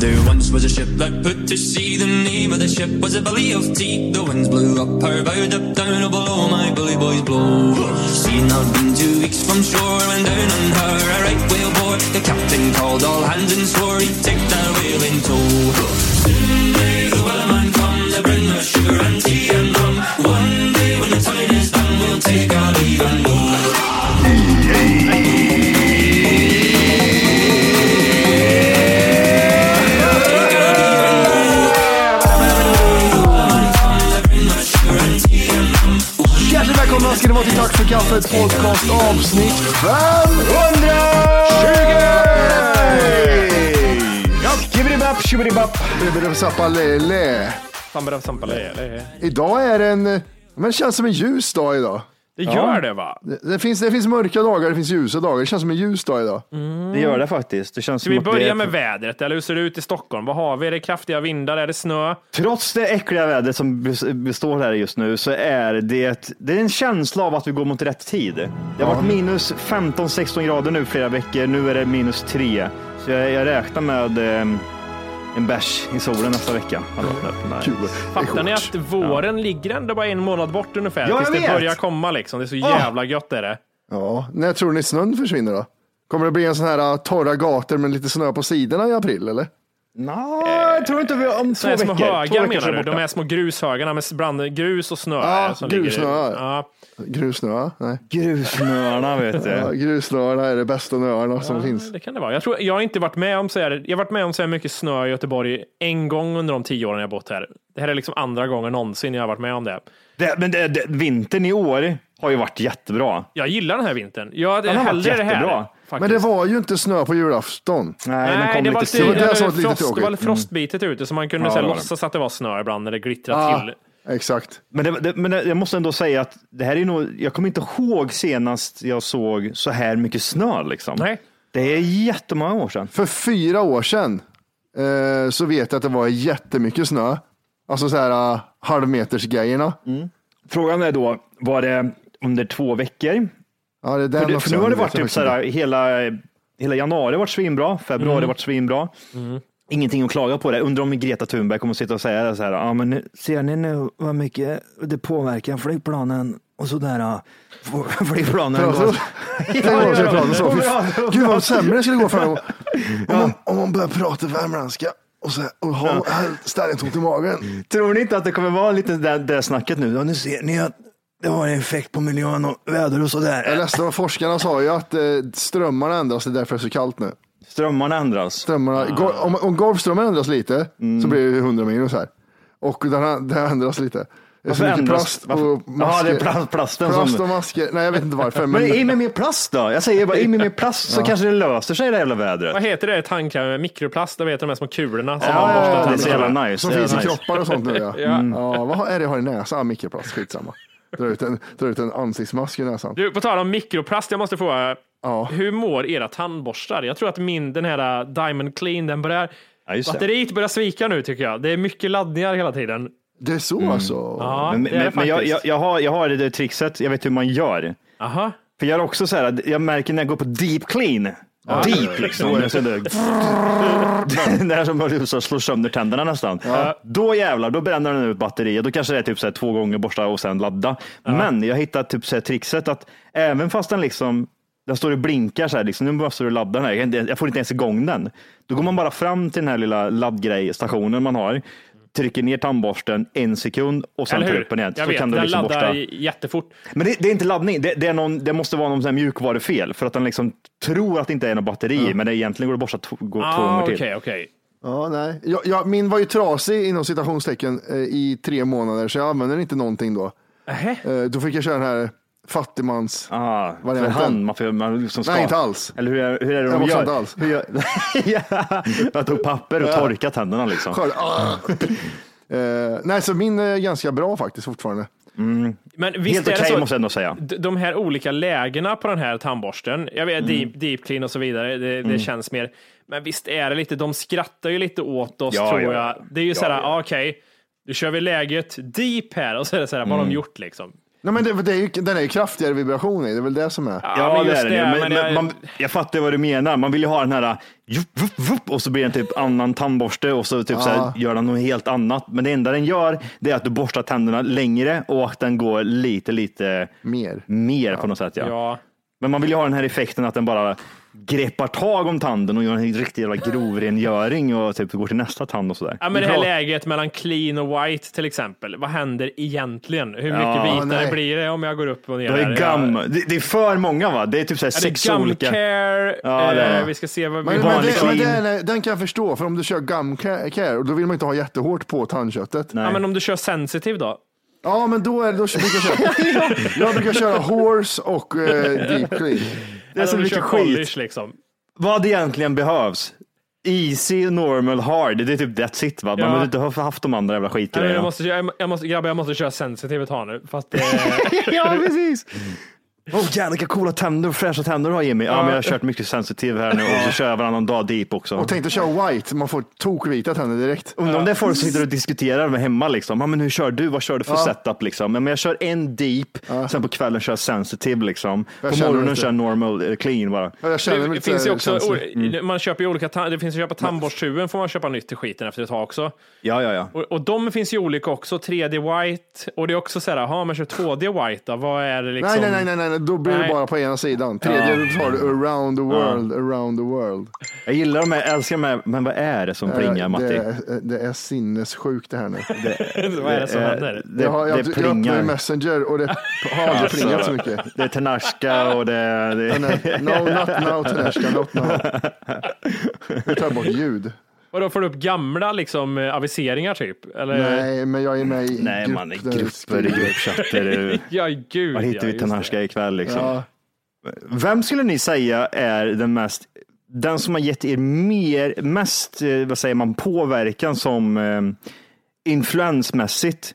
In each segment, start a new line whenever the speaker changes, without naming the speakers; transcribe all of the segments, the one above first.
There once was a ship that put to sea. The name of the ship was a belly of tea. The winds blew up her bow, up down, oh below my bully boys blow. She had not been two weeks from shore when down on her a right whale bore. The captain called all hands and swore he'd take that whale in tow. Soon may the wellerman come to bring us sugar and tea and rum. One day when the time is done, we'll take our leave and go.
Hjärtligt välkomna ska ni vara till Tack för kaffet podcast avsnitt 520!
Skibbidi-bapp, skibbidi-bapp.
Bibbidi-bappalele. Idag är det en, men det känns som en ljus dag idag.
Det gör det va?
Det, det, finns, det finns mörka dagar, det finns ljusa dagar. Det känns som en ljus dag idag.
Mm.
Det gör det faktiskt. Det känns
Ska vi
som att det
börja
är...
med vädret, eller hur ser det ut i Stockholm? Vad har vi? Är det kraftiga vindar? Är det snö?
Trots det äckliga vädret som bes- består här just nu så är det, det är en känsla av att vi går mot rätt tid. Det har varit minus 15-16 grader nu flera veckor. Nu är det minus 3. Så jag, jag räknar med ehm, en bärs i solen nästa vecka. Hallå, där.
Kul.
Fattar ni att våren ligger ändå bara en månad bort ungefär?
Ja, jag
tills det
vet. Ah!
börjar komma liksom. Det är så jävla gött är det.
Ja, när tror ni snön försvinner då? Kommer det bli en sån här uh, torra gator med lite snö på sidorna i april eller?
Nej, jag tror inte vi om två
Sådana här
veckor.
små
två
högar
veckor så är
menar du?
borta.
De här små grushögarna med bland grus och snö.
Ja,
som ligger i-
grusnöar.
Ja.
Grusnöa? Nej.
Grusnörarna vet du.
Ja, grusnöarna är det bästa nöarna som finns.
Det kan det vara. Jag, tror, jag har inte varit med om så här, jag har varit med om så här mycket snö i Göteborg en gång under de tio åren jag bott här. Det här är liksom andra gången någonsin jag har varit med om det.
Det, men det, det, vintern i år har ju varit jättebra.
Jag gillar den här vintern. Jag hade
Den har varit
hellre det
jättebra.
här.
Men
faktiskt.
det var ju inte snö på julafton.
Nej, den
Nej,
kom
det
lite
var, lite,
sent.
det var
det,
det som var
var
lite
frost, det var
tråkigt.
frostbitet ute, så man kunde
Ja,
så här,
det var det.
låtsas att det var snö ibland när det glittrade
Ah.
Ja.
till.
Exakt.
Men, det, det, men det, jag måste ändå säga att det här är nog, jag kommer inte ihåg senast jag såg så här mycket snö. Liksom.
Nej.
Det är jättemånga år sedan.
För fyra år sedan eh, så vet jag att det var jättemycket snö. Alltså så här uh, halvmetersgrejerna.
Mm. Frågan är då, var det under två veckor?
Ja, det är den
För,
också,
det,
Mm.
för nu har
jag
det
vet
varit
jag
typ
faktiskt
så här, hela, hela januari har varit svinbra, februari har varit svinbra.
Mm.
Ingenting att klaga på det. Undrar om Greta Thunberg kommer att sitta och säga det så här. Ja, men nu- ser ni nu vad mycket det påverkar flygplanen och sådär. ja. F- Flygplanen.
Ja,
går-
så- Tänk om jag skulle prata så. Fy fan. Gud vad sämre det skulle gå för dem. Om man, om man börjar prata värmländska och, så här, och ha stället ont i magen.
Tror ni inte att det kommer vara lite det, det snacket nu? Ja, nu ser ni att det har en effekt på miljön och väder och
Jag
sådär.
läste vad forskarna sa ju att eh, strömmarna ändras, det är därför det är så kallt nu.
Strömmarna ändras.
Strömmarna, gol- om, om golfströmmen ändras lite
Mm.
så blir det 100 minus här. Och den här, det här ändras lite. Det är så
Varför
mycket
ändras-
plast
varför-
och
Jaha,
masker.
det är plast- plasten som-
plast och masker. Nej, jag vet inte varför.
Men
Men,
i med mer plast då? Jag säger bara i med mer plast så kanske det löser sig det jävla vädret.
Vad heter det? Tandkräm med mikroplast? Vad heter de här små kulorna? Som
Ja,
man
ja,
borstar
ja, det är
tänderna
så jävla
med?
nice.
som
det är
finns i
nice. Mm.
kroppar och sånt nu ja. ja vad har- är det jag har i näsan? Ah, mikroplast, skitsamma. Dra ut en, dra ut en ansiktsmask i näsan.
Du, på tal om mikroplast, jag måste fråga.
Ja.
Hur mår era tandborstar? Jag tror att min, den här äh, Diamond Clean, den börjar...
Ja, just det.
batteriet börjar svika nu tycker jag. Det är mycket laddningar hela tiden.
Det är
Mm.
så alltså?
Ja,
Men,
det är
men,
det
men jag,
faktiskt.
jag, jag, har, jag har det där trixet, jag vet hur man gör.
Aha.
För jag är också så här, jag märker när jag går på deep clean. Deep liksom. Jag ser det.
typ-
det här som bara så slår sönder tänderna nästan. Då jävlar, då bränner den ut batteriet. Då kanske det är typ så här två gånger borsta och sen ladda. Men jag hittar typ så här trixet att även fast den liksom den står och blinkar så här, liksom, nu måste du ladda den här. Jag kan inte- Jag får inte ens igång den. Då går man bara fram till den här lilla laddgrejstationen man har, trycker ner tandborsten en sekund och sen
Eller
tar
hur?
upp den igen.
Jag
så
vet,
kan du
den
liksom
laddar
borsta.
jättefort.
Men det, det är inte laddning, det, det, är någon, det måste vara någon sån här mjukvarufel för att den liksom tror att det inte är något batteri, men det egentligen går det att borsta två, gå två
Ah,
gånger
Okej,
till.
okej.
Ja, nej. Jag, jag, min var ju trasig inom citationstecken eh, i tre månader, så jag använde den inte någonting då.
Nähä.
Eh, då fick jag köra den här fattigmans...
Ah,
Varianten.
för hand, man får, man liksom ska.
Nej, inte alls.
Eller hur är, hur är det
Jag
de
måste
gör?
inte alls.
Hur gör? ja, jag tog papper och torkade tänderna liksom.
Skörd. Ah. Eh, nej, så min är ganska bra faktiskt fortfarande.
Men visst
Helt
är
okej
det så?
måste jag ändå säga.
D- de här olika lägena på den här tandborsten, jag vet
Mm.
deep, deep clean och så vidare, det, det känns mer, men visst är det lite, de skrattar ju lite åt oss
Ja,
tror
ja, ja.
jag. Det är ju
Ja,
så här,
ja.
okej, nu kör vi läget deep här och så är det så här, vad
Mm.
har de gjort liksom?
Nej, men det, det är ju, den är ju kraftigare vibration i, det är väl det som är.
Ja, men just det,
ju.
men
Men, men,
jag-
man, jag fattar vad du menar. Man vill ju ha den här jup, vup, vup, och så blir det en typ annan tandborste och så, typ så här, gör den något helt annat. Men det enda den gör det är att du borstar tänderna längre och att den går lite, lite
Mer.
mer på något sätt. Ja.
Ja,
Men man vill ju ha den här effekten att den bara greppar tag om tanden och gör en riktig jävla grovrengöring och typ går till nästa tand och sådär.
ja men det här
Bra.
läget mellan clean och white till exempel, vad händer egentligen? Hur mycket
Ja,
vitare
nej.
blir det om jag går upp och ner?
Det är
här?
gum. Det, det är för många va? Det är typ så här
Ja,
sex
det är gum
olika.
care,
Ja, det är
eh,
det.
vi ska se vad vi
Men, men,
vanlig
det, men
clean.
den, den kan jag förstå, för om du kör gum ca- care, och då vill man inte ha jättehårt på tandköttet.
Ja, men om du kör sensitive då?
Ja, men då, är, det- då brukar jag köra, jag brukar köra horse och eh, deep clean.
Det är så
Eller om du
mycket
kör
skit.
polish liksom?
vad det egentligen behövs. Easy, normal, hard. Det är typ that's it. Va? Man
Ja.
behöver inte ha haft de andra jävla
Nej, men
skitgrejerna.
jag, måste, jag, jag måste, grabbar, jag måste köra sensitive ett tag nu. Fast eh, det,
ja, precis. Oh, jävlar vilka coola tänder och fräscha tänder du har Jimmy. Ja, men jag har kört mycket sensitiv här nu och så kör jag varannan dag deep också.
Och tänk dig köra white, man får tokvita tänder direkt.
Undrar om det är folk som sitter och diskuterar med hemma. Liksom. Ja, men hur kör du? Vad kör du för setup? Liksom? Ja, men jag kör en deep, sen på kvällen kör jag sensitive. Liksom.
Jag
På
känner
morgonen
inte.
kör jag normal, eh, clean bara.
Ja, Jag känner
det,
mig
det
lite
finns ju också,
känslig.
o-
Mm.
man köper ju olika, ta- det finns ju att köpa tandborsttuben får man köpa nytt till skiten efter ett tag också.
Ja, ja, ja.
Och, och de finns ju olika också, 3D white, och det är också så här, jaha, man kör 2D white då, vad är det liksom?
Nej, nej, nej, nej, nej, nej, då blir
Nej.
det bara på ena sidan. Tredje tar du around the world, around the world.
Jag gillar de här, jag älskar de här, men vad är det som plingar Matti?
Eh, det, är, det är sinnessjukt det här nu.
vad är det som
Eh,
händer?
Det,
jag har, jag,
det
jag öppnar
plingar.
ju Messenger och det har aldrig plingat så mycket.
Det är Tenashka och det... det
Nej, No, not now, Teneshka, not now. Vi tar bort ljud.
Och då får du upp gamla liksom eh, aviseringar typ? Eller?
Nej, men jag är med i
nej,
grupp
man är
där vi
grupper,
skriver.
i gruppchatter. du.
Ja, gud
Var hittar
ja,
vi
just det.
Tenashka ikväll liksom?
Ja.
Vem skulle ni säga är den mest, den som har gett er mer, mest, eh, vad säger man, påverkan som eh, influensmässigt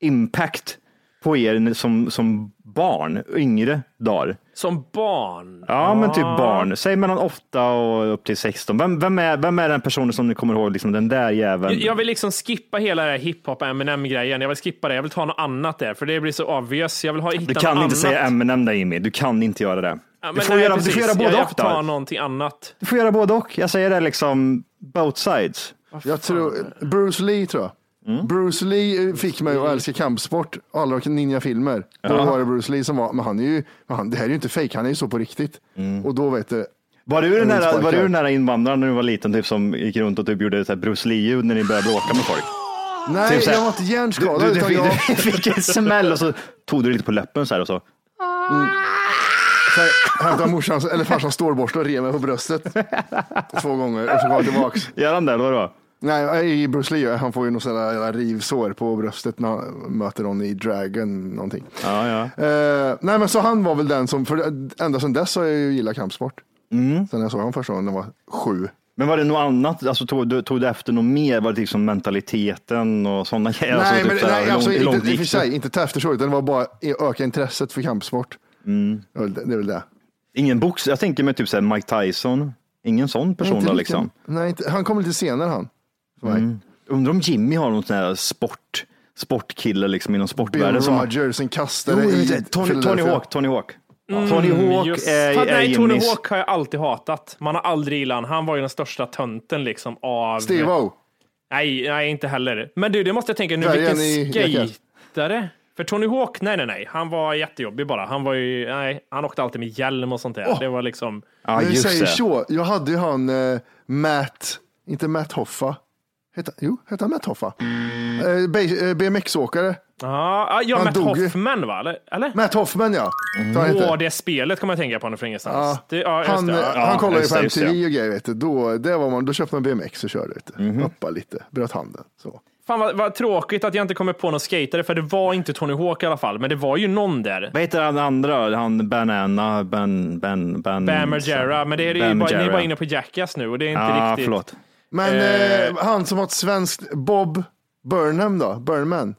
impact på er som, som barn, yngre dagar?
Som barn?
Ja, men typ barn. Säg mellan 8 och upp till 16. Vem, vem, är, vem är den personen som ni kommer ihåg, liksom, den där jäveln?
Jag- Jag vill liksom skippa hela det här hiphop Eminem grejen. Jag vill skippa det. Jag vill ta något annat där, för det blir så obvious. Jag vill ha, hitta
Du kan
något
inte
annat.
säga Eminem där Jimmy. Du kan inte göra det.
Ja,
du,
men
får
nej,
göra, du
precis.
får göra både
jag, jag
och.
får ta
Där.
någonting annat.
Du får göra både och. Jag säger det liksom both sides.
Jag tror, Bruce Lee tror jag.
Mm.
Bruce Lee eh, fick mig att älska kampsport, alla ninjafilmer. Då var det Bruce Lee som var, men han är ju, men han, det här är ju inte fejk, han är ju så på riktigt.
Mm.
Och då vet du,
Var du den
Jag
där,
sparkar.
var du den där invandraren när du var liten typ, som gick runt och typ gjorde så här Bruce Lee-ljud när ni började bråka med folk?
nej
Typ så här,
jag var inte hjärnskadad
du,
utan
fick,
jag,
du fick en smäll och så tog du lite på läppen så här och så.
så här, hämtade morsans eller farsans stålborste och rev mig på bröstet. Två gånger och så kom jag tillbaks.
Gör han det eller vadå?
Nej, i Bruce Lee, han får ju något sådana jävla rivsår på bröstet när han möter någon i Dragon någonting.
Ja, ja.
Eh, nej, men så han var väl den som, för ända sedan dess har jag ju gillat kampsport.
Mm.
Sen jag såg honom första gången, när jag var sju.
Men var det något annat? Alltså, tog, du, tog du efter något mer? Var det liksom mentaliteten och sådana grejer?
nej,
alltså,
men
så här,
nej,
hur
alltså,
långt- hur långt
inte, i och
gick
för
det?
sig, inte ta efter så, utan det var bara att öka intresset för kampsport.
Mm.
Det är väl det. det, är väl det.
Ingen box, jag tänker mig typ så här Mike Tyson. Ingen sån person
Inte
då
lika-
liksom. Mm.
Nej, inte, han kom lite senare han. för mig.
Undrar om Jimmy har någon sån här sport sportkille liksom inom sportvärlden.
Bill
som-
Rogers, en
Jo,
kastare
jag
i
vet det. Tony, Tony
Philadelphia.
Hawk, Tony Hawk. Tony Hawk
Mm. Just.
eh, är,
Fan,
är
nej, Tony
Jimmys-
Hawk har jag alltid hatat. Man har aldrig gillat han. Han var ju den största tönten liksom av...
Steve-O.
Nej, nej, inte heller. Men du, det måste jag tänka nu,
Dvärgen
vilken
i jackan.
skejtare? För Tony Hawk, nej, nej, nej. Han var jättejobbig bara. Han var ju, nej, han åkte alltid med hjälm och sånt där. Det var liksom,
Ja,
När du
just
säger
det.
så, jag hade ju han eh, Matt, inte Matt Hoffa. Hette, jo, hette han Matt Hoffa?
Mm.
Eh, B- eh, BMX-åkare.
ja, ah, ja,
Han
Matt
dog ju.
Hoffman va? Eller? eller?
Matt Hoffman ja.
Mm.
Så han heter.
Åh, det spelet kommer jag tänka på nu från ingenstans. Det, ja, just
han, eh,
det. Ja.
han kollade ju
just
på
det, just
MTV
det.
och grejer. Vet du. Då, det var man, då köpte man BMX och körde lite.
Mhm.
Hoppa lite, bröt handen. Så.
Fan vad, vad tråkigt att jag inte kommer på någon skatare, för det var inte Tony Hawk i alla fall, men det var ju någon där.
Vad heter han andra? Han Banana, Ben, Ben, Ben...
Bam Margera, men det är, det är
Bam
bara, ni är
Margera.
bara inne på Jackass nu och det är inte
Ja,
riktigt...
förlåt.
Men eh, han som har ett svenskt, Bob Burnham då? Burnman?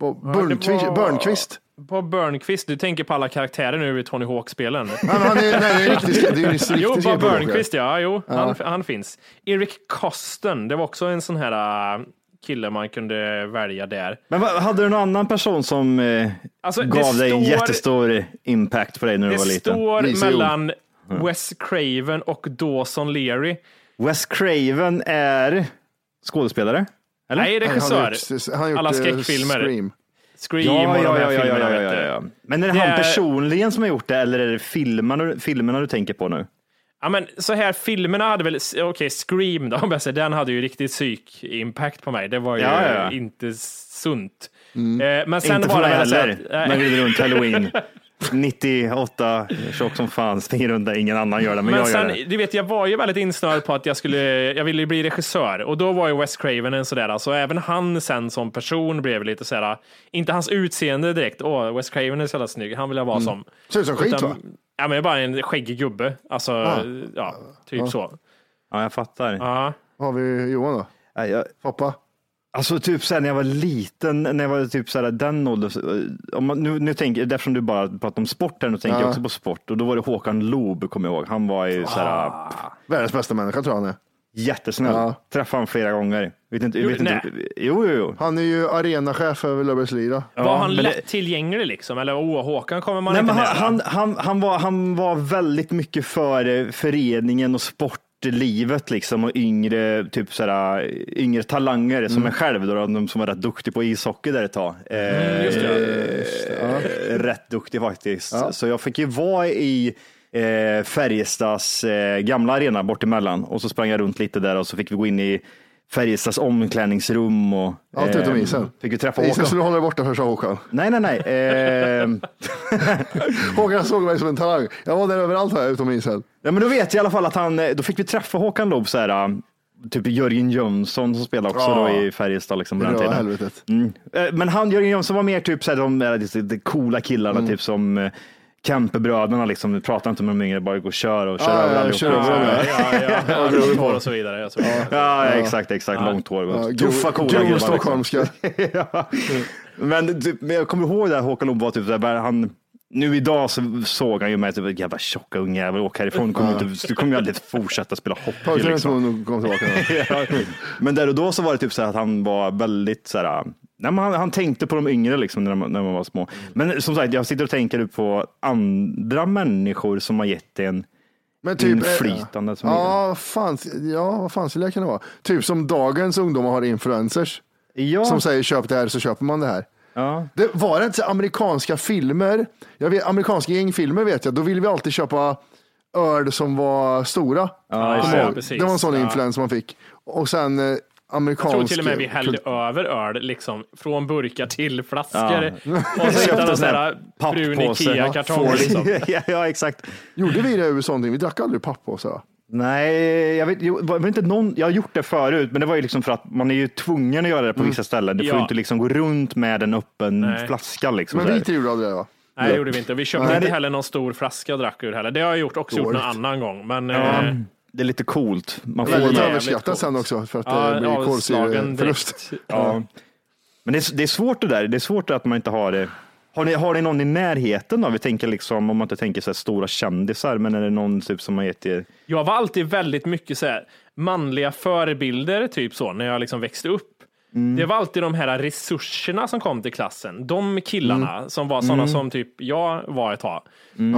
Bob Burnqvist?
var-
Burnqvist?
På Burnquist, du tänker på alla karaktärer nu i Tony Hawk-spelen.
Nej, men han är, nej, det är en riktig ska- det är en riktig
jo, Bob
skateboardåkare.
Burnquist ja, jo, Han, han finns. Eric Kosten, det var också en sån här äh, kille man kunde välja där.
Men vad- hade du någon annan person som eh,
Alltså, det
gav dig en
står-
jättestor impact på dig när du
Det
var liten?
står
Lisa
mellan Wes Craven och Dawson Leary.
Wes Craven är skådespelare? Eller?
Nej,
Han har
regissör.
gjort, han har gjort
Alla
eh,
skräckfilmer.
Scream.
Scream
Ja,
och
ja,
de
ja,
här
ja, ja,
filmerna.
ja,
vet
ja,
du.
ja. Men är det
Det
han
är-
personligen som har gjort det eller är det filmerna, filmerna du tänker på nu?
Ja, men så här, filmerna hade väl, okej, Scream då, om jag säger, den hade ju riktigt psyk-impact på mig. Det var ju
Ja, ja, ja.
inte sunt.
Mm.
Eh, men sen
Inte
var
för
det
mig
väl så
heller.
att, nej.
Man rider runt halloween. 98, tjock som fan, springer runt där ingen annan gör det, men,
Men
jag
sen,
gör det.
du vet, jag var ju väldigt insnöad på att jag skulle, jag ville ju bli regissör och då var ju Wes Craven en sådär, alltså även han sen som person blev lite sådär, inte hans utseende direkt, åh, Wes Craven är så jävla snygg, han vill jag vara
Mm.
som.
Ser ut som skit va? Ah.
Ja, men bara en skäggig gubbe, alltså, ja, typ så.
Ja, jag fattar.
Ja.
Har vi Johan då?
Nej, jag,
Hoppa.
Alltså typ såhär när jag var liten, när jag var typ såhär den åldern, så- om man, nu, nu tänker, eftersom du bara pratar om sport här, nu tänker jag också på sport. Och då var det Håkan Loob, kommer jag ihåg. Han var ju såhär
Ah.
Världens bästa människa tror jag han är.
jättesnäll.
Ja.
Träffade han flera gånger. Vet inte,
Jo,
vet inte,
nej.
jo, jo, jo.
Han är ju arenachef över Löfbergslira.
var
Ja,
han
men det-
lättillgänglig liksom? Eller åh, Håkan kommer man
Nej,
inte
men han,
nära.
han, han, han, var, han var väldigt mycket för eh, föreningen och sportlivet liksom och yngre, typ sådär, yngre talanger som
Mm.
en själv, då, de som var rätt duktig på ishockey där ett tag.
Mm,
Eh, eh, Rätt duktig faktiskt. Så jag fick ju vara i eh, Färjestads eh, gamla arena bortemellan och så sprang jag runt lite där och så fick vi gå in i Färjestads omklädningsrum och
Allt
eh,
utom isen.
Fick ju träffa
Isen
Håkan.
skulle du hålla dig borta för, sa Håkan.
Nej, nej, nej. Eh,
Håkan såg mig som en talang. Jag var där överallt här utom isen.
Ja, men då vet jag i alla fall att han, eh, då fick vi träffa Håkan Loob, så här, äh, typ Jörgen Jönsson som spelade också
Ja.
då i Färjestad. Liksom, på den
Bra
tiden.
helvetet.
Mm. Eh, Men han, Jörgen Jönsson var mer typ så här, de, där lite- de coola killarna,
Mm.
typ som eh, Kempebröderna, liksom. Vi pratar inte med de yngre, bara gå och kör och kör
Ja,
över
ja,
allihopa.
kör över dem,
Ja,
ja.
ja, ja. Långt hår och så vidare. alltså. och så vidare.
Ja, exakt, exakt. Långt hår.
Ja, grov-
Tuffa, coola
grov
gubbar. liksom.
stockholmska.
ja. men, typ, men jag kommer ihåg där Håkan Loob var typ där, han, nu idag så såg han ju mig, typ, jävla tjocka ungjävel, åk härifrån, du kommer, ju inte, du kommer ju aldrig fortsätta spela
Ta
hockey.
ut
Liksom.
liksom. och kom tillbaka.
Men där och då så var det typ så här att han var väldigt så här, äh, nej, men han, han tänkte på de yngre liksom när man, när man var små.
Mm.
Men som sagt, jag sitter och tänker nu på andra människor som har gett en
Men typ, eh,
Inflytande som
ja, fan, ja, vad fan skulle jag kunna vara? Typ som dagens ungdomar har influencers.
Ja,
Som säger köp det här så köper man det här.
ja.
Det var det inte så här amerikanska filmer? Jag vet, amerikanska gängfilmer vet jag. Då ville vi alltid köpa öl som var stora.
Ja,
Kommer
ja,
ihåg?
precis.
det var en sån
Ja.
influens man fick. Och sen eh,
Jag
amerikansk...
tror till och med vi hällde över öl, liksom, från burkar till flaskor. Och
Köpte
så
en
hittade en
sån
sån
här
här brun
papppåse.
Ikea-kartong. Liksom.
ja, ja, exakt.
Gjorde vi det i USA någonting? Vi drack aldrig pappåsar va?
Nej, jag vet, jag, var det inte någon, jag har gjort det förut, men det var ju liksom för att man är ju tvungen att göra det på vissa ställen. Du får
Mm. Ja.
ju inte liksom gå runt med en öppen flaska. Liksom,
Men
så
vi
här.
tre gjorde aldrig det va?
Nej, det gjorde vi inte. Vi köpte
Nej,
inte
det-
heller någon stor flaska och drack ur heller. Det har jag gjort, också gjort någon
Dåligt.
annan gång. Men,
Ja,
eh,
det är lite coolt. Man får
Väldigt
jävligt
överskattat
coolt.
sen också för att eh, det
ja,
blir
avslagen
kolsyreförlust.
direkt.
Ja. Men det är, det är svårt det där. Det är svårt att man inte har det. Har ni, har ni någon i närheten då? Vi tänker liksom, om man inte tänker så här stora kändisar, men är det någon typ som har gett er?
Jag var alltid väldigt mycket så här, manliga förebilder, typ så, när jag liksom växte upp.
Mm.
Det var alltid de här resurserna som kom till klassen. De killarna
Mm.
som var sådana som typ jag var ett tag.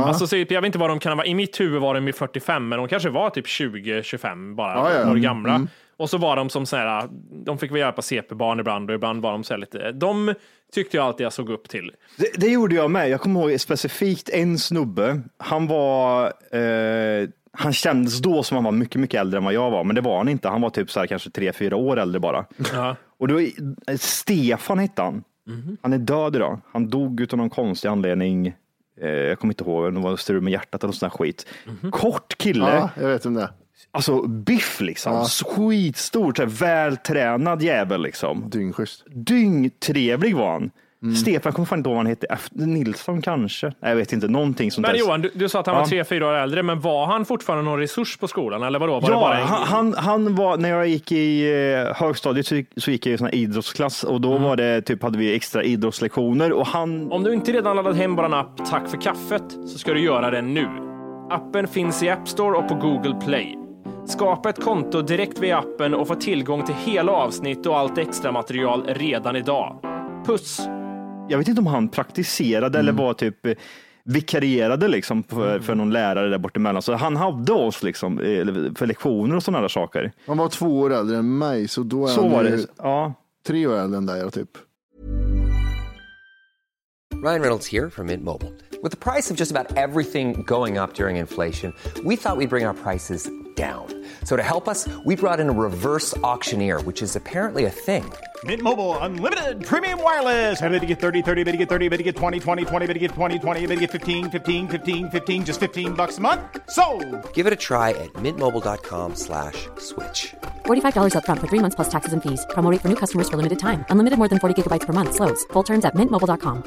Alltså, typ, jag vet inte vad de kan vara. I mitt huvud var de i 45, men de kanske var typ 20-25 bara,
Ja, ja, ja.
år gamla.
Mm.
Och så var de som sådär, de fick väl hjälpa CP-barn ibland och ibland var de så här lite, de tyckte jag alltid jag såg upp till.
Det, det gjorde jag med. Jag kommer ihåg specifikt en snubbe. Han var, eh, han kändes då som han var mycket, mycket äldre än vad jag var, men det var han inte. Han var typ så här kanske tre, fyra år äldre bara.
Ja.
Och då, eh, Stefan hette han. Han är död idag. Han dog utan någon konstig anledning. Eh, jag kommer inte ihåg, det var strul med hjärtat eller någon sån här skit. Kort kille,
Ja, jag vet om det. är.
alltså biff liksom. Skitstort, så här, vältränad jävel liksom
Dyngschysst.
dyngtrevlig var han.
Mm.
Stefan, kommer fan inte ihåg vad han hette. F- Nilsson kanske? Nej, jag vet inte. Någonting sånt
Men
där.
Johan, du, du sa att han
Ja.
var tre, fyra år äldre, men var han fortfarande någon resurs på skolan? Eller vadå? Var det bara
Ja,
en...
han, han, han var, när jag gick i eh, högstadiet så gick, så gick jag i sån här idrottsklass och
Mm.
då var det, typ, hade vi extra idrottslektioner och han,
Om du inte redan laddat hem bara en app Tack för kaffet så ska du göra det nu. Appen finns i App Store och på Google Play. Skapa ett konto direkt via appen och få tillgång till hela avsnitt och allt extra material redan idag. Puss!
jag vet inte om han praktiserade
Mm.
eller var typ eh, vikarierade liksom för, för någon lärare där bortemellan. Så han hade oss liksom, eh, för lektioner och sådana där saker.
Han var två år äldre än mig, så då är
Så
han
var
ju
det. Ja.
tre år äldre än dig då, typ.
Ryan Reynolds here from Mint Mobile. With the price of just about everything going up during inflation, we thought we'd bring our prices down. So to help us, we brought in a reverse auctioneer, which is apparently a thing.
Mint Mobile unlimited premium wireless. Ready to get 30, 30, bit to get 30, bit to get 20, 20, 20, bit to get 20, 20, bit to get 15, 15, 15, 15 just 15 bucks a month. So,
Give it a try at mintmobile.com slash switch.
$45 upfront for three months plus taxes and fees. Promo rate for new customers for limited time. Unlimited more than 40 gigabytes per month. Slows. Full terms at mintmobile.com.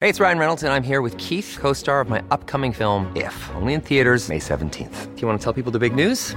Hey, it's Ryan Reynolds, and I'm here with Keith, co-star of my upcoming film, If, only in theaters May 17th. Do you want to tell people the big news?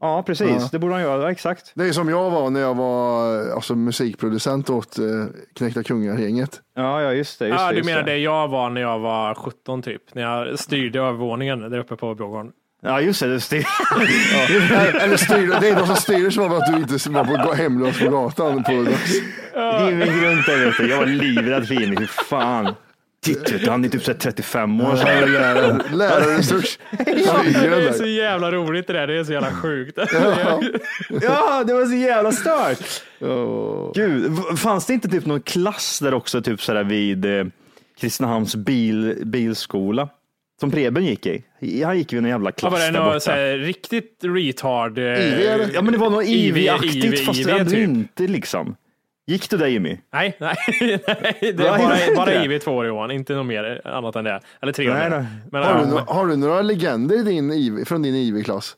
ja, precis. Det borde han göra. Ja, exakt.
Det är som jag var när jag var alltså, musikproducent åt eh, Knäckta Kungar-gänget.
Ja, ja, just det. Just
ah,
det
du
just
menar
det.
det jag var när jag var 17 typ, när jag styrde övervåningen där uppe på Blågården.
Ja, just det. just det.
Eller- Eller styr, det är de som styr som var att du inte var på, hemlös på gatan. På,
Riven runt där vet du. Jag var livrädd för Jimmy. Hur fan. Titta, vet du, han är typ så här 35 år. Så här, lärare.
Lärarresurs.
Det är
Flygräddare.
så jävla roligt det där, det är så jävla sjukt.
Ja, det var så jävla stört. Gud, v- fanns det inte typ någon klass där också, typ så där vid eh, Kristinehamns bil, bilskola? Som Preben gick i. I- Han gick ju i en jävla
Ja,
klass
var det
där
något
borta.
så här, riktigt retard... eh,
Ja, men det var något
IV,
IV-aktigt, fast
IV,
det ändå
typ.
inte liksom. Gick du där Jimmy?
Nej, nej, nej, det
Nej, det
är
är
bara, bara
inte.
IV två år Johan, inte något mer annat än det. Eller tre år.
Nej,
mer.
nej.
Men,
Har du,
ja,
no- har du några legender i din, IV från din IV-klass?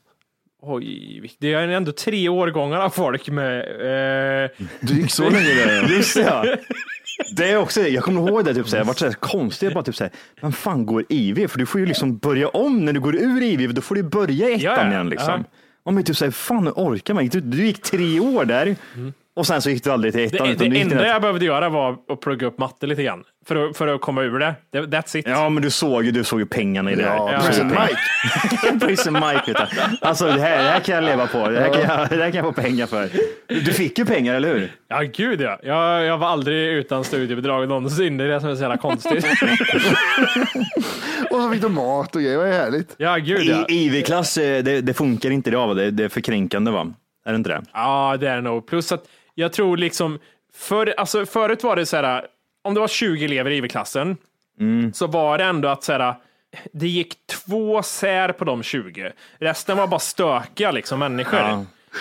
Oj, det är ändå tre årgångar av folk med... Eh,
Du gick så länge där.
Just det ja. Det är också, jag kommer ihåg det, typ, såhär, jag vart såhär konstig, jag bara typ såhär, men fan går IV? För du får ju liksom börja om när du går ur IV, då får du börja i ettan
Ja, ja.
igen. Liksom.
Ja.
Ja. Men typ såhär, fan hur orkar man? Du, du gick tre år där och sen så gick du aldrig till ettan.
Mm. det
utan du
det
gick till
enda
den-
jag behövde göra var att plugga upp matte lite grann. För att, för att komma ur det. Det- That's it.
Ja, men du såg ju, du såg ju pengarna i det här.
Ja,
Du såg ju
Prison
pengarna. Prison Mike. Vet du. Alltså det här, det här kan jag leva på. Det här kan jag, det här kan jag få pengar för. Du du fick ju pengar, eller hur?
Ja, gud ja. Jag, jag var aldrig utan studiebidrag någonsin. Det är det som är så jävla konstigt.
Och så fick du mat och grejer, vad härligt.
ja, gud ja.
I IV-klass, eh, det, det funkar inte idag, va? det, det är förkränkande va? Är det inte det?
Ja, det är det nog. Plus att jag tror liksom, för, alltså, förut var det så här, om det var 20 elever i IV-klassen,
Mm.
så var det ändå att så här, det gick två sär på de 20. Resten var bara stökiga liksom, människor.
Ja.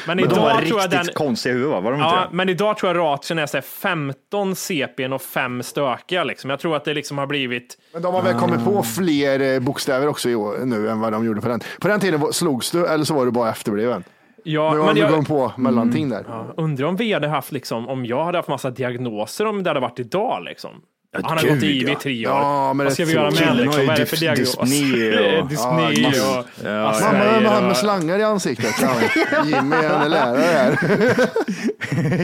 Men,
Men de var
idag tror jag
riktigt
den...
konstiga i huvudet, va? var de inte
Ja,
det?
men idag tror jag ratien är så här 15 CPn och 5 stökiga. Liksom. Jag tror att det liksom har blivit...
Men de har väl kommit på fler eh, bokstäver också i år, nu än vad de gjorde på den. På den tiden var- slogs du eller så var du bara efterbliven.
Ja,
Men,
men
men
jag- Mm.
jag kom på mellanting där.
Undrar om vi hade haft, liksom, om jag hade haft massa diagnoser om det hade varit idag. Liksom. han har
gud,
gått i IV i
ja.
tre år.
Ja, men
Vad ska
det
vi
är
göra
så-
med
killen
honom?
har ju
Liksom? Vad är det
dys-
för diagnos?
dyspné och-
Dyspné
Ja,
och... Alltså,
Mamma,
nej,
vem
det
var han
var-
med slangar i ansiktet? Ja, Jimmy, han är lärare här.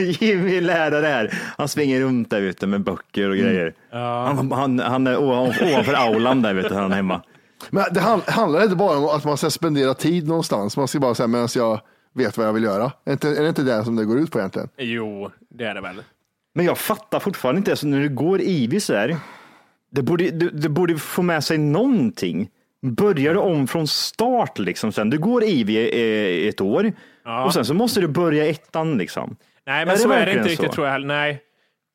Jimmy lärare här. Han springer runt där ute med böcker
Mm.
och grejer. Han, han, han är ovan- ovanför aulan där vet du, han är hemma.
Men det hand- handlar inte bara om att man ska spendera tid någonstans. Man ska bara säga medan jag vet vad jag vill göra. Är, inte, är det inte det som det går ut på egentligen?
Jo, det är det väl.
Men jag fattar fortfarande inte, alltså, när du går Ivy så här, det borde, du, du borde få med sig någonting. Börjar du om från start liksom sen. Du går Ivy eh, ett år och sen så måste du börja ettan liksom.
Nej,
Är
men
det
så är det
verkligen
inte riktigt
så?
tror jag heller. Nej.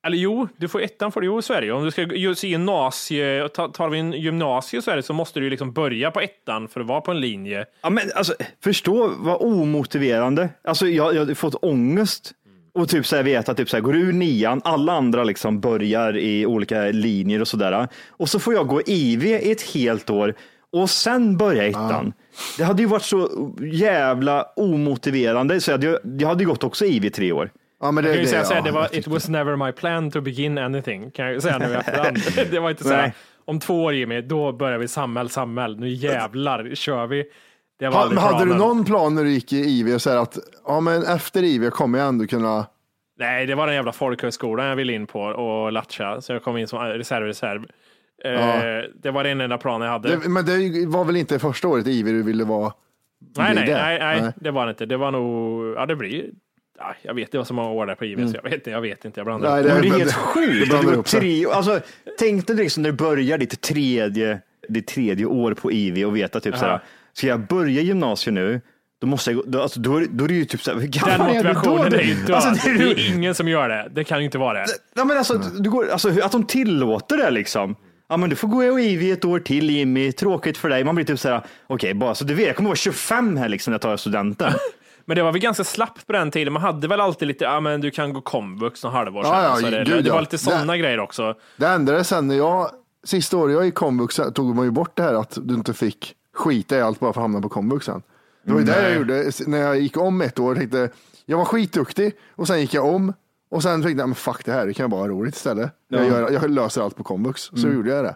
Eller jo, du får ettan för det. Jo, så är det ju. Om du ska just i gymnasie, ta- tar vi en gymnasie så är det så måste du ju liksom börja på ettan för att vara på en linje.
Ja, men alltså, förstå vad omotiverande. Alltså, jag, jag har fått ångest och typ så här vet att typ så här, går du ur nian, alla andra liksom börjar i olika linjer och sådär. Och så får jag gå IV i ett helt år och sen börja ettan. Det hade ju varit så jävla omotiverande så jag hade, ju- jag hade ju gått också IV i tre år.
Ja, men det,
Jag kan ju
det,
säga
ja.
så här, det var it was never my plan to begin anything, kan jag ju säga nu i efterhand. Det var inte så här,
Nej.
om två år Jimmy, då börjar vi samhäll, samhäll, nu jävlar kör vi. Det var
Ha, men
aldrig
hade du
planen.
någon plan när du gick i IV? Så här att ja, men efter IV kommer jag ändå kunna...
Nej, det var den jävla folkhögskolan jag ville in på och latcha, så jag kom in som reserv, reserv. Eh,
Ja.
Det var den enda planen jag hade.
Det, men det var väl inte första året i IV du ville vara?
nej,
bli
nej,
det?
nej, nej,
Nej.
det var det inte. Det var nog, ja det blir, ja, jag vet, det var så många år där på IV, så jag vet, jag vet inte, jag blandar
Mm. Nej,
ihop.
Det är
men
helt
det
sjukt.
blandar
Det går
ihop sig.
tre, alltså, tänk dig liksom när du börjar ditt tredje, ditt tredje år på IV och vet att typ såhär, ska jag börja gymnasiet nu, då måste jag gå- då, alltså, då, är, då är det ju typ såhär, hur
Den
gammal är du då?
motivationen är ju död.
Alltså, det är
det
ju-
är ingen som gör det. Det kan ju inte vara det.
Ja, men alltså, du går, alltså, hur- att de tillåter det liksom. Ja, men du får gå i IV ett år till Jimmy, tråkigt för dig. Man blir typ såhär, okej, bara så du vet, jag kommer vara 25 här liksom när jag tar studenten.
Men det var väl ganska slappt på den tiden. Man hade väl alltid lite, ja men du kan gå komvux någon halvår
Ja, ja,
så det,
gud,
det var
ja. Alltså,
lite sådana
Det-
grejer också.
Det ändrades sen när jag, sista året jag gick komvux så tog man ju bort det här att du inte fick skita i allt bara för att hamna på komvux sen. Det var ju det jag gjorde när jag gick om ett år. Tänkte, jag var skitduktig och sen gick jag om och sen tänkte jag, men fuck det här, det kan jag bara ha roligt istället. Jag, gör, jag löser allt på komvux. Så gjorde jag det.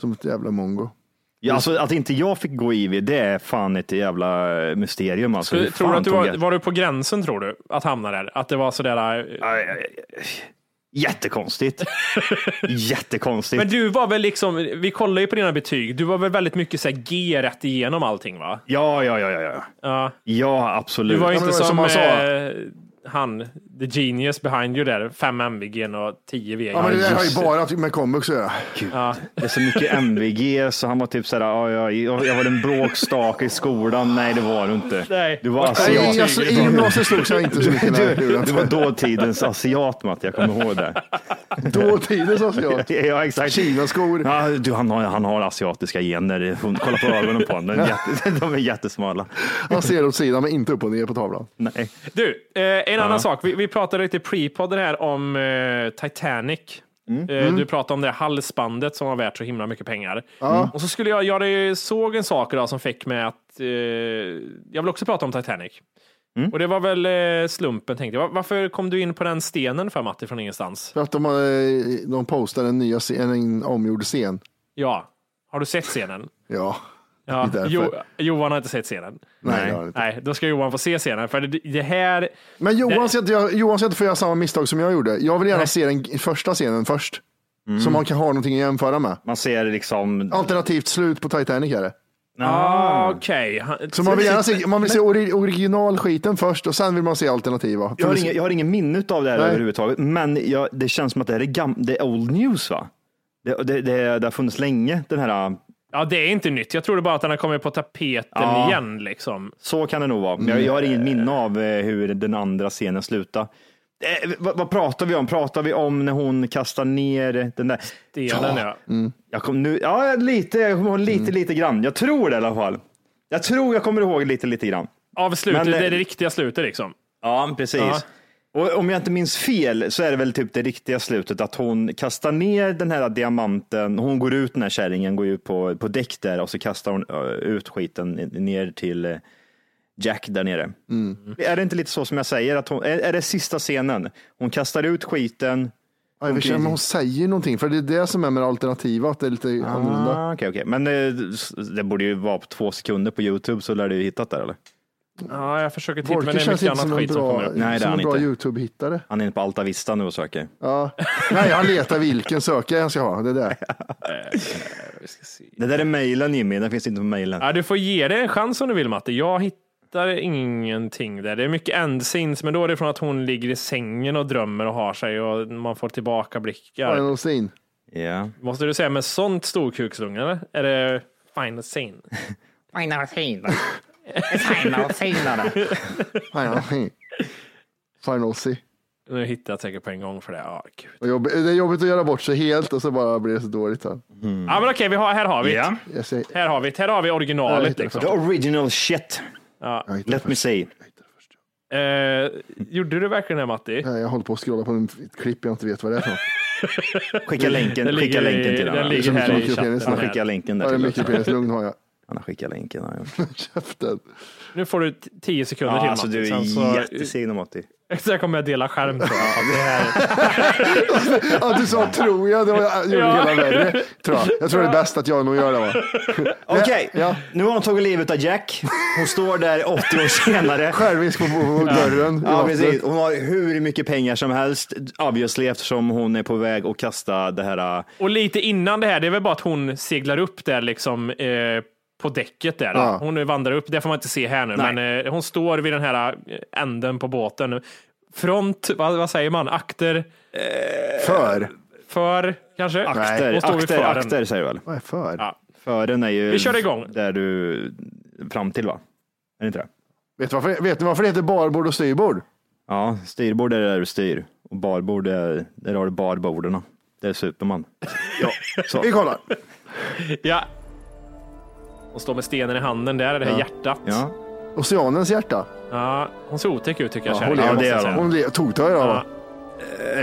Som ett jävla mongo.
Mm. Ja, alltså, att inte jag fick gå IV, det är fan ett jävla mysterium. Alltså. Hur
tror du
fan
att du
tog
var,
jag-
var du på gränsen tror du, att hamna där? Att det var sådär. eh,
Aj, aj, aj. Jättekonstigt. Jättekonstigt.
Men du var väl liksom, vi kollade ju på dina betyg, du var väl väldigt mycket såhär G rätt igenom allting va?
Ja, ja, ja, ja, ja.
Ja.
Ja, absolut.
Du var ju
Ja, men
inte
det var
som,
som han sa.
eh, han, the genius behind you där, fem MVG och tio VG.
Ja, men det där har
just
ju bara med komvux att göra.
Det är så mycket MVG, så han var typ så här, ja, ja, jag, jag var en bråkstake i skolan. Nej, det var du inte.
Nej.
Du var
Nej,
asiat.
alltså, I gymnasiet slogs jag inte så mycket. när
Du,
jag gjorde
du var dåtidens asiat, Matt. Jag kommer ihåg det.
det. Dåtidens asiat.
Ja, exakt.
Kinaskor.
Ja, du, han, har, han har asiatiska gener. Hon, kolla på ögonen på honom. De är jätte- De är jättesmala.
Han ser åt sidan men inte upp och ner på tavlan.
Nej.
Du, eh, en annan sak. Vi, vi pratade lite pre-podden här om eh, Titanic.
Mm.
Eh, Du pratade om det här halsbandet som var värt så himla mycket pengar. Och så skulle jag, jag hade ju- såg en sak idag som fick mig att, eh, jag vill också prata om Titanic.
Mm.
Och det var väl eh, slumpen tänkte jag. Va- Varför kom du in på den stenen för Matti från ingenstans?
För att de, har- eh, de postar en, nya, scen- en omgjord scen.
Ja, har du sett scenen?
Ja,
Ja.
Det är därför.
Jo, Johan har inte sett scenen.
nej, det har jag inte.
Nej, då ska Johan få se scenen. För det, det här,
Men Johan
Det-
ska, inte, göra- Johan ska inte få göra samma misstag som jag gjorde. Jag vill gärna se den g- första scenen först. Så man kan ha någonting att jämföra med.
Man ser liksom...
Alternativt slut på Titanic är det.
ah, okej. Han-
Så man vill gärna se, man vill se ori- originalskiten först och sen vill man se alternativa.
Jag
För
har,
det-
ingen, jag har ingen minne av det här
Nej.
överhuvudtaget, men jag, det känns som att det här är, gam, det är old news va? Det, det, det, det har funnits länge, den här.
Ja, det är inte nytt. Jag tror det bara att den har kommit på tapeten
Ja.
igen. Liksom.
Så kan det nog vara. Men jag, jag har inget minne av eh, hur den andra scenen slutar. Eh, vad, vad pratar vi om? Pratar vi om när hon kastar ner den där?
Delen, ja.
Jag kom nu, ja, lite, jag kommer ihåg lite, lite grann. Jag tror det i alla fall. Jag tror jag kommer ihåg lite, lite grann.
Av slutet,
Men,
det är
eh,
det riktiga slutet. Liksom.
Ja, precis.
Ja.
Och om jag inte minns fel så är det väl typ det riktiga slutet att hon kastar ner den här diamanten. Hon går ut, den här kärringen går ut på, på däck där och så kastar hon ö, ut skiten ner till eh, Jack där nere. Är det inte lite så som jag säger? Att hon, är, är det sista scenen? Hon kastar ut skiten,
Ja, i och för sig, men hon säger någonting, för det är det som är med det alternativa, att det är lite annorlunda.
Ah, okej, okej. Men eh, det borde ju vara på två sekunder på Youtube så lär du ju hittat där eller?
Ja, jag försöker titta, men
Volker
det är
känns
mycket
inte som en
annat skit som kommer
bra,
upp.
Nej, det är
som
han
en bra
inte.
YouTube-hittare.
Han är inne på Alta Vista nu och söker.
Ja. Nej, han letar vilken sökare han ska ha. Det där.
Eh,
Det där är mejlen Jimmy, den finns inte på mejlen.
Ja, du får ge det en chans om du vill Matte. Jag hittar ingenting där. Det är mycket endsins, men då är det från att hon ligger i sängen och drömmer och har sig och man får tillbaka blickar.
Final scene.
Ja.
Måste du säga med sånt storkukslugn eller? Är det final scene?
Final scene. Final scene.
Final scene. Final scene.
Nu hittar jag säkert på en gång för det. Ja, gud.
Vad jobb- Det är jobbigt att göra bort sig helt och så bara blir det så dåligt. Här,
ja men okej, vi har, här har vi det.
Ja.
jag säger,
Här har vi det. Här har vi
Ja,
originalet
hittar
liksom.
The original shit,
jag, hittar
let me
först.
say.
Eh, gjorde du verkligen det Matti?
Nej, jag håller på att scrolla på en ett klipp jag inte vet vad det är för något.
Skicka länken,
Den
skicka
ligger i-
länken till
den
honom.
ligger
Det är så
här i
mycket
chatten.
penis.
Han
här.
skickar länken där
Ja, det är
till
mycket
också.
penislugn har jag.
Han har skickat länken. har han gjort.
Käften.
Nu får du t- 10 sekunder
Ja,
till
alltså
Matti.
du
Sen
är jätteseg om 80.
Sen kommer jag dela skärm tror jag.
Att du sa tror jag, det var, jag gjorde
Ja.
hela världen. Tror jag. jag tror det är bäst att jag nog gör det. Va?
Okej,
Ja.
nu har hon tagit livet av Jack. Hon står där 80 år senare.
Självisk på, på, på dörren. i
Ja,
vattnet.
precis. Hon har hur mycket pengar som helst, obviously, eftersom hon är på väg att kasta det här. äh,
Och lite innan det här, det är väl bara att hon seglar upp där liksom eh, på däcket där.
Ja.
Hon vandrar upp, det får man inte se här nu,
Nej.
men eh, hon står vid den här eh, änden på båten. Front, vad, vad säger man? Akter,
För.
för kanske?
Akter,
Och står vid
akter,
fören.
akter säger du väl?
Vad är för?
Ja.
Fören är ju
Vi kör igång.
där du fram till va? Är det inte det?
Vet, du varför, vet ni varför det heter barbord och styrbord?
Ja, styrbord är där du styr och barbord är där har du barborden. Det är Superman.
Ja. Vi kollar.
Ja. Hon står med stenen i handen, där är det här hjärtat.
Ja,
Oceanens hjärta.
Ja, hon ser otäck ut tycker jag.
hon
kärringen,
lever.
måste jag
Ja, det är
säga.
Hon le- tog det ja. va?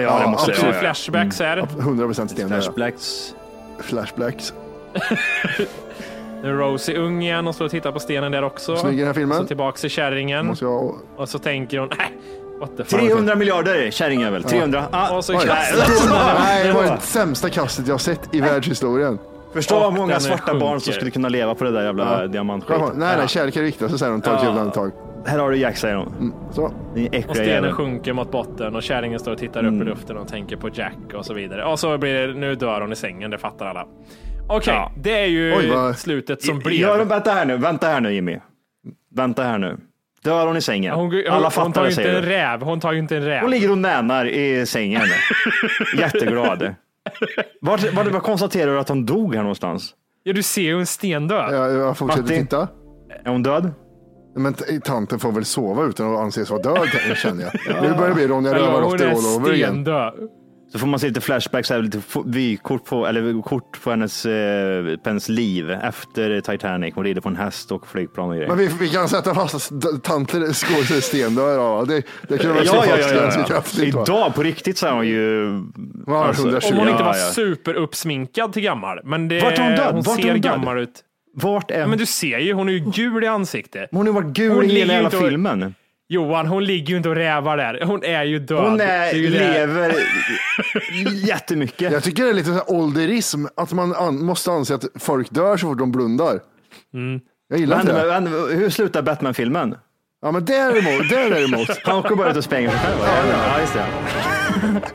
ja det måste
Så
jag.
det är flashbacks här.
100 procent sten.
Flash
Flashblacks.
Blacks.
Flashblacks.
Mm.
Nu är Rosie ung igen och står och tittar på stenen där också.
Snygg i den här filmen.
Så tillbaks till kärringen.
Måste jag...
Och så tänker hon, nej, what the fuck.
300 miljarder kärringjävel. 300. Ah,
Och så
Oj.
kastas hon.
Nej, det var det sämsta kastet jag sett i världshistorien.
Förstå vad
Och
många
den
svarta barn som
sjunker.
skulle kunna leva på det där jävla diamantskiten.
Kom, nej, nej, kärlek är viktigast. Så säger hon, ta ett jävla andetag.
Här har du Jack säger hon.
Så.
Ni
Och
äckliga
stenen
jävel.
sjunker mot botten och kärringen står och tittar
Mm.
upp i luften och tänker på Jack och så vidare. Och så blir det, nu dör hon i sängen, det fattar alla. Okej,
Ja.
det är ju
Oj, vad-
slutet som blev.
Ja, vänta här nu, vänta här nu Jimmy. Vänta här nu. Dör hon i sängen?
Hon, hon,
Alla
hon tar
fattar
ju
det
inte
säger
en
du.
räv, hon tar ju inte en räv.
Hon ligger och nänar i sängen. Jätteglad. Vart, vart, vart konstaterar du att hon dog här någonstans?
Ja, du ser ju en sten dö.
Jag, jag fortsätter
Matti.
titta.
Är hon död?
Men t- tanten får väl sova utan att anses vara död, känner jag. Nu börjar det bli Ronja
Eller
Rövardotter all
hon
over
är
igen.
stendö.
Så får man se lite flashbacks, här, lite fo- vykort på, eller kort på hennes, eh, på hennes liv efter Titanic. Hon rider på en häst och flygplan och grejer.
Men vi, vi kan sätta fast att d- tanter skådisar stendör. Ja, det, det kan vi slå
Ja, ja,
fast
ja, ja,
ganska
ja.
kraftigt. va?
Idag på riktigt så är hon ju... Alltså,
Ja, 120.
Om hon
Ja,
inte var
ja.
superuppsminkad till gammal. Men det,
Vart är hon död? Vart är
ser
hon död?
gammal ut.
Vart är...
Ja, men du ser ju, hon är ju gul i ansiktet.
Hon har ju varit gul
Hon
i hela
ligger ju
jävla
inte och-
filmen.
Johan, hon ligger ju inte och rävar där. Hon är ju död.
Hon
Det
är,
är ju det.
lever jättemycket.
Jag tycker det är lite så här ålderism, att man an, måste anse att folk dör så fort de blundar. Jag gillar
Men,
inte det.
men, hur slutar Batman-filmen?
Ja, men däremot, där däremot.
Han åker bara ut och spränger sig själv. va? Ja, just det.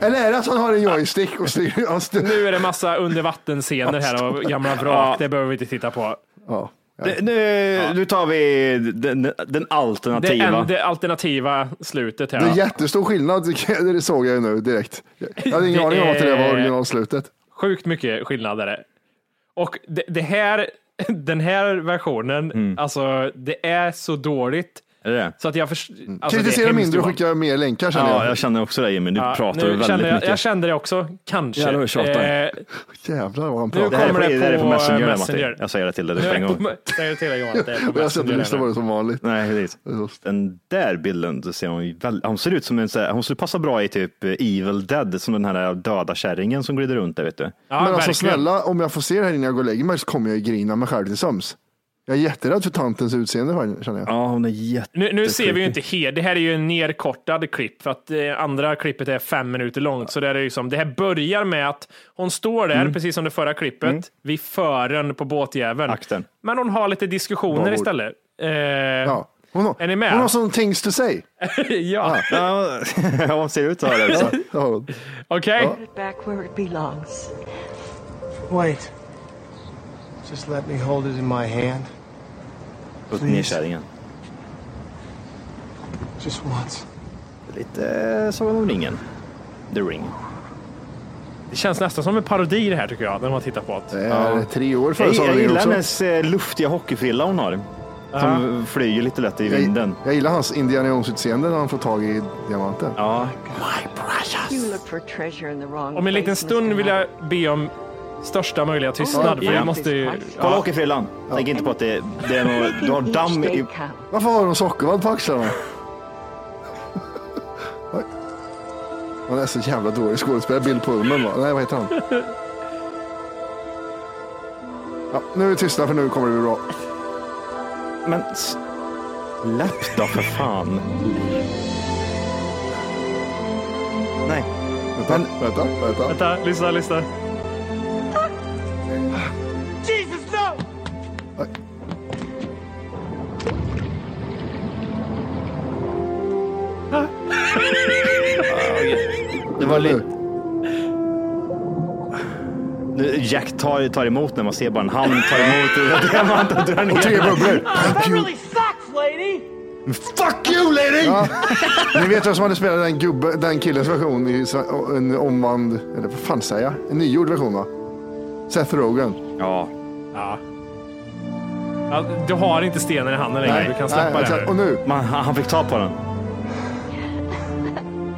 Eller är det att han har en joystick och styr? Han styr.
Nu är det massa undervattensscener här och gamla
Ja.
vrak. Det behöver vi inte titta på.
Ja.
Det- Eh, Nu, nu tar vi den, den
Det,
alternativa.
en, det alternativa slutet här.
Det är
ja.
jättestor skillnad, det såg jag ju nu direkt. Jag hade ingen
Det
aning om att det där
är- Alltså,
var originalslutet.
Sjukt mycket skillnad är det. Och det, det här, den här versionen,
Mm.
alltså det är så dåligt.
Är det det?
Så att jag förs- alltså, det är
Kritisera
hemskt,
mindre och
Johan.
skicka mer länkar känner
Ja,
jag.
jag känner också det Jimmy. Du
Ja,
pratar
nu
väldigt
kände jag,
mycket.
jag kände det också, kanske.
Jävlar vad du tjatar.
Eh,
Jävlar vad han
nu
det
pratar.
här är på,
kommer det
det här är på
på eh,
Messenger,
Messenger.
Matti. Jag säger det till dig
nu
på en
är det
gång.
på- säger till dig, Johan, att det är på
Jag satt och
Messenger
lyssnade
nu.
på det som vanligt.
Nej, precis. Den där bilden, så ser hon, ju väl- hon ser ut som en, så här- hon skulle passa bra i typ Evil Dead, som den här döda kärringen som glider runt där vet du.
Ja,
Men alltså
verkligen.
snälla, om jag får se det här innan jag går och lägger mig så kommer jag ju grina mig själv till sömns. Jag är jätterädd för tantens utseende känner jag.
Ja, hon är jätte...
Nu, nu ser vi ju inte helt, det här är ju en nerkortad klipp för att eh, andra klippet är fem minuter långt. Så det, är ju som, det här börjar med att hon står
Mm.
där, precis som det förra klippet, vid fören på båtjäveln.
Akten.
Men hon har lite diskussioner
Bra ord.
istället. Eh,
Ja. Hon har,
Är ni med?
Hon har sån things to say.
ja.
Ja, hon ser ut så här. Alltså.
Ja.
Okej.
back where it belongs.
Wait. Just let me hold it in my hand.
Putt ner kärringen.
Just once.
Lite eh, Sagan om ringen. The ring.
Det känns nästan som en parodi det här tycker jag, när man tittar på
Eh.
det.
Det är tre år
Jag,
före
jag
Sagan
gillar
också.
hennes eh, luftiga hockeyfrilla hon har. Som flyger lite lätt i
Jag,
vinden.
jag gillar hans Indiana Jones-utseende när han får tag i diamanten.
Ja,
You look for treasure in the wrong
Om en liten
place, Mr.
stund vill jag
Knight.
be om största möjliga tystnad.
Ja.
För vi måste ju...
kolla hockeyfrillan. Tänk inte på att det, det är något, du har
Each
damm
day
i...
counts.
Varför har hon sockervadd på axlarna? Oj. Han är så jävla dålig skådespelare. Bill Pullman va? Nej, vad heter han? Ja, nu är vi tysta för nu kommer det bli bra.
Men släpp då för fan. Nej.
Vänta, vänta, vänta.
Vänta, lyssna, lyssna.
Det var lite... Nu, Jack tar, tar emot när man ser bara en hand tar emot. Det är det man inte drar
Och tre
ner.
bubblor. Fuck you,
Fuck you lady!
Ja. Ni vet vem som hade spelat den, gubbe, den killens version i sva- en omvand, eller vad fan säger jag? En nygjord version va? Seth Rogen.
Ja.
Ja, du har inte stenen i handen längre,
Nej.
du kan
Nej,
släppa det
exakt.
här
och
nu.
nu,
Man, han, han fick ta på den.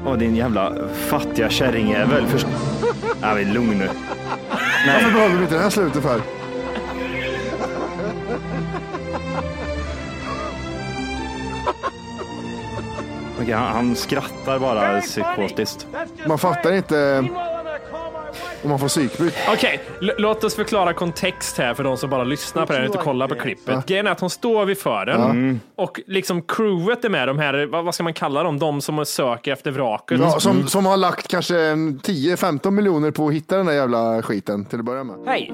Åh, din jävla fattiga kärringjävel. Först... Nej, men lugn nu.
varför behöver vi inte det här slutet för?
Okej, han, han skrattar bara psykotiskt.
Man fattar inte om man får psykbryt.
Okej, l- låt oss förklara kontext här för de som bara lyssnar på det här och inte kollar på klippet. Grejen är att hon står vid fören och liksom crewet är med, de här, vad, vad ska man kalla dem, de som söker efter vraket.
Ja, som, som har lagt kanske en 10-15 miljoner på att hitta den där jävla skiten till att börja med.
Hej!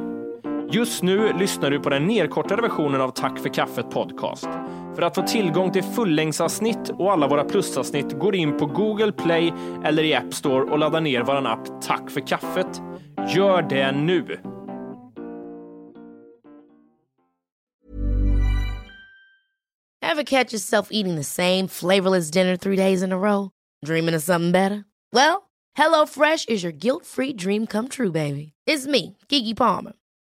Just nu lyssnar du på den nedkortade versionen av Tack för kaffet podcast. För att få tillgång till fullängdsavsnitt och alla våra plusavsnitt går in på Google Play eller i App Store och laddar ner vår app Tack för kaffet. Gör det nu!
Ever catch yourself eating the same flavorless dinner three days in a row? Dreaming of something better? Well, HelloFresh is your guilt-free dream come true, baby. It's me, Gigi Palmer.